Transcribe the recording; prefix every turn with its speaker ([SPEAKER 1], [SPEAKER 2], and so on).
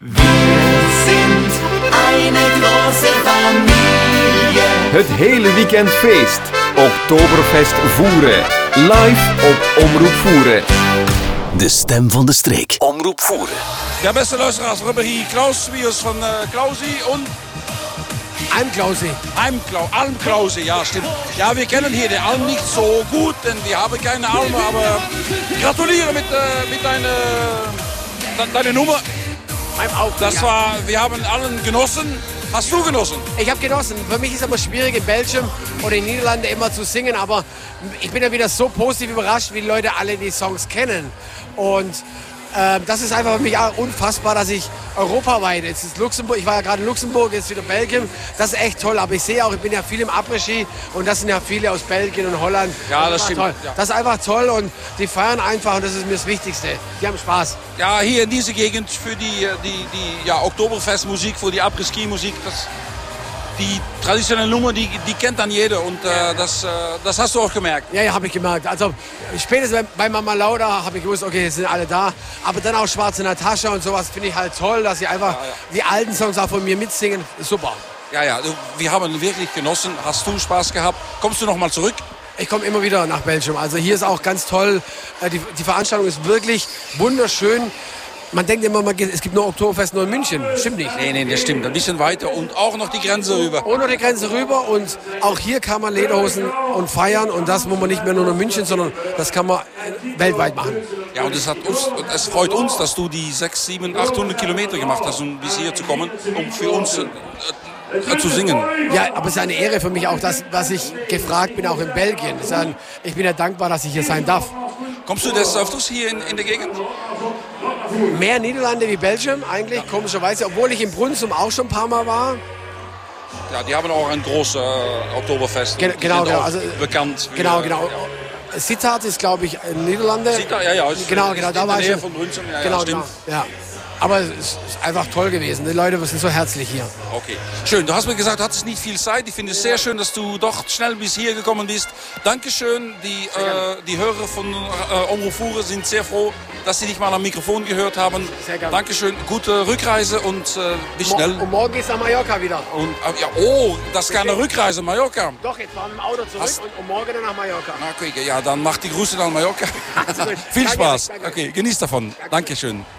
[SPEAKER 1] Wir sind eine große Familie.
[SPEAKER 2] Het hele weekend feest. Oktoberfest voeren. Live op Omroep Voeren.
[SPEAKER 3] De stem van de streek. Omroep voeren.
[SPEAKER 4] Ja, beste luisteraars, we hebben hier Klaus Wiers van eh Klausi en
[SPEAKER 5] I'm Klausi.
[SPEAKER 4] Almklau Alm Klausi, ja stimmt. Ja, wir kennen hier den Alm nicht so gut, denn wir haben keine Alm, aber gratuliere mit, äh, mit deiner, de- deiner Nummer.
[SPEAKER 5] Beim Auftritt.
[SPEAKER 4] Das
[SPEAKER 5] ja.
[SPEAKER 4] war, wir haben allen genossen. Hast du genossen?
[SPEAKER 5] Ich habe genossen. Für mich ist aber schwierig in Belgien oder in den Niederlanden immer zu singen, aber ich bin ja wieder so positiv überrascht, wie die Leute alle die Songs kennen. Und ähm, das ist einfach für mich auch unfassbar, dass ich europaweit, jetzt ist Luxemburg, ich war ja gerade in Luxemburg, jetzt wieder Belgien, das ist echt toll. Aber ich sehe auch, ich bin ja viel im Après-Ski und das sind ja viele aus Belgien und Holland.
[SPEAKER 4] Ja, das
[SPEAKER 5] ist
[SPEAKER 4] stimmt,
[SPEAKER 5] Toll.
[SPEAKER 4] ja.
[SPEAKER 5] Das ist einfach toll und die feiern einfach und das ist mir das Wichtigste. Die haben Spaß.
[SPEAKER 4] Ja, hier in dieser Gegend für die, äh, die, die ja, Oktoberfestmusik, für die Après-Ski-Musik, das, die traditionelle Nummer, die, die kennt dann jeder und äh, das, äh, das hast du auch gemerkt.
[SPEAKER 5] Ja, ja, habe ich gemerkt. Also spätestens bei- bei Mama Lauda habe ich gewusst, okay, jetzt sind alle da. Aber dann auch Schwarze Natascha und sowas finde ich halt toll, dass sie einfach die alten Songs auch von mir mitsingen. Super.
[SPEAKER 4] Ja, ja, du- wir haben wirklich genossen. Hast du Spaß gehabt? Kommst du noch mal zurück?
[SPEAKER 5] Ich komme immer wieder nach Belgium. Also hier ist auch ganz toll. Äh, Die, die Veranstaltung ist wirklich wunderschön. Man denkt immer, man geht, es gibt nur Oktoberfest nur in München. Stimmt nicht.
[SPEAKER 4] Nee, nee, das stimmt. Ein bisschen weiter und auch noch die Grenze rüber.
[SPEAKER 5] Ohne die Grenze rüber und auch hier kann man Lederhosen und feiern und das muss man nicht mehr nur in München, sondern das kann man äh, weltweit machen.
[SPEAKER 4] Ja, und es, hat uns, und es freut uns, dass du die 6, 7, 800 Kilometer gemacht hast, um bis hier zu kommen, um für uns äh, äh, zu singen.
[SPEAKER 5] Ja, aber es ist eine Ehre für mich auch, dass, dass ich gefragt bin, auch in Belgien. Es ist ein, ich bin ja dankbar, dass ich hier sein darf.
[SPEAKER 4] Kommst du des öfters hier in, in der Gegend?
[SPEAKER 5] Mehr Niederlande wie Belgien eigentlich, komischerweise, obwohl ich in Brunsum auch schon ein paar Mal war.
[SPEAKER 4] Ja, die haben auch ein großes äh, Oktoberfest.
[SPEAKER 5] Ge-
[SPEAKER 4] Die
[SPEAKER 5] genau,
[SPEAKER 4] sind
[SPEAKER 5] genau.
[SPEAKER 4] auch
[SPEAKER 5] Also,
[SPEAKER 4] bekannt. für-
[SPEAKER 5] Genau, genau.
[SPEAKER 4] Ja.
[SPEAKER 5] Sittard ist, glaube ich, in Niederlande.
[SPEAKER 4] Sittard, ja, ja, ist-
[SPEAKER 5] Genau,
[SPEAKER 4] ist
[SPEAKER 5] genau,
[SPEAKER 4] in
[SPEAKER 5] da
[SPEAKER 4] der
[SPEAKER 5] war ich
[SPEAKER 4] Nähe
[SPEAKER 5] schon.
[SPEAKER 4] von Brunsum, ja, ja,
[SPEAKER 5] genau,
[SPEAKER 4] stimmt.
[SPEAKER 5] genau, ja. Aber es ist einfach toll gewesen. Die Leute sind so herzlich hier.
[SPEAKER 4] Okay, schön. Du hast mir gesagt, du hattest nicht viel Zeit. Ich finde es sehr schön, dass du doch schnell bis hier gekommen bist. Dankeschön. Die, äh, die Hörer von äh, Omroep Voeren sind sehr froh, dass sie dich mal am Mikrofon gehört haben.
[SPEAKER 5] Sehr gerne.
[SPEAKER 4] Dankeschön. Gute Rückreise und äh, bis
[SPEAKER 5] Mo-
[SPEAKER 4] schnell.
[SPEAKER 5] Und morgen ist er Mallorca wieder.
[SPEAKER 4] Und, äh, ja, oh, das ist keine Rückreise, Mallorca. Ah,
[SPEAKER 5] Doch, jetzt fahren wir im Auto zurück
[SPEAKER 4] Hast-
[SPEAKER 5] und, und morgen dann nach Mallorca.
[SPEAKER 4] Na, okay, ja, dann mach die Grüße nach Mallorca.
[SPEAKER 5] Danke,
[SPEAKER 4] Viel Spaß.
[SPEAKER 5] danke.
[SPEAKER 4] Okay, genieß davon. Dankeschön.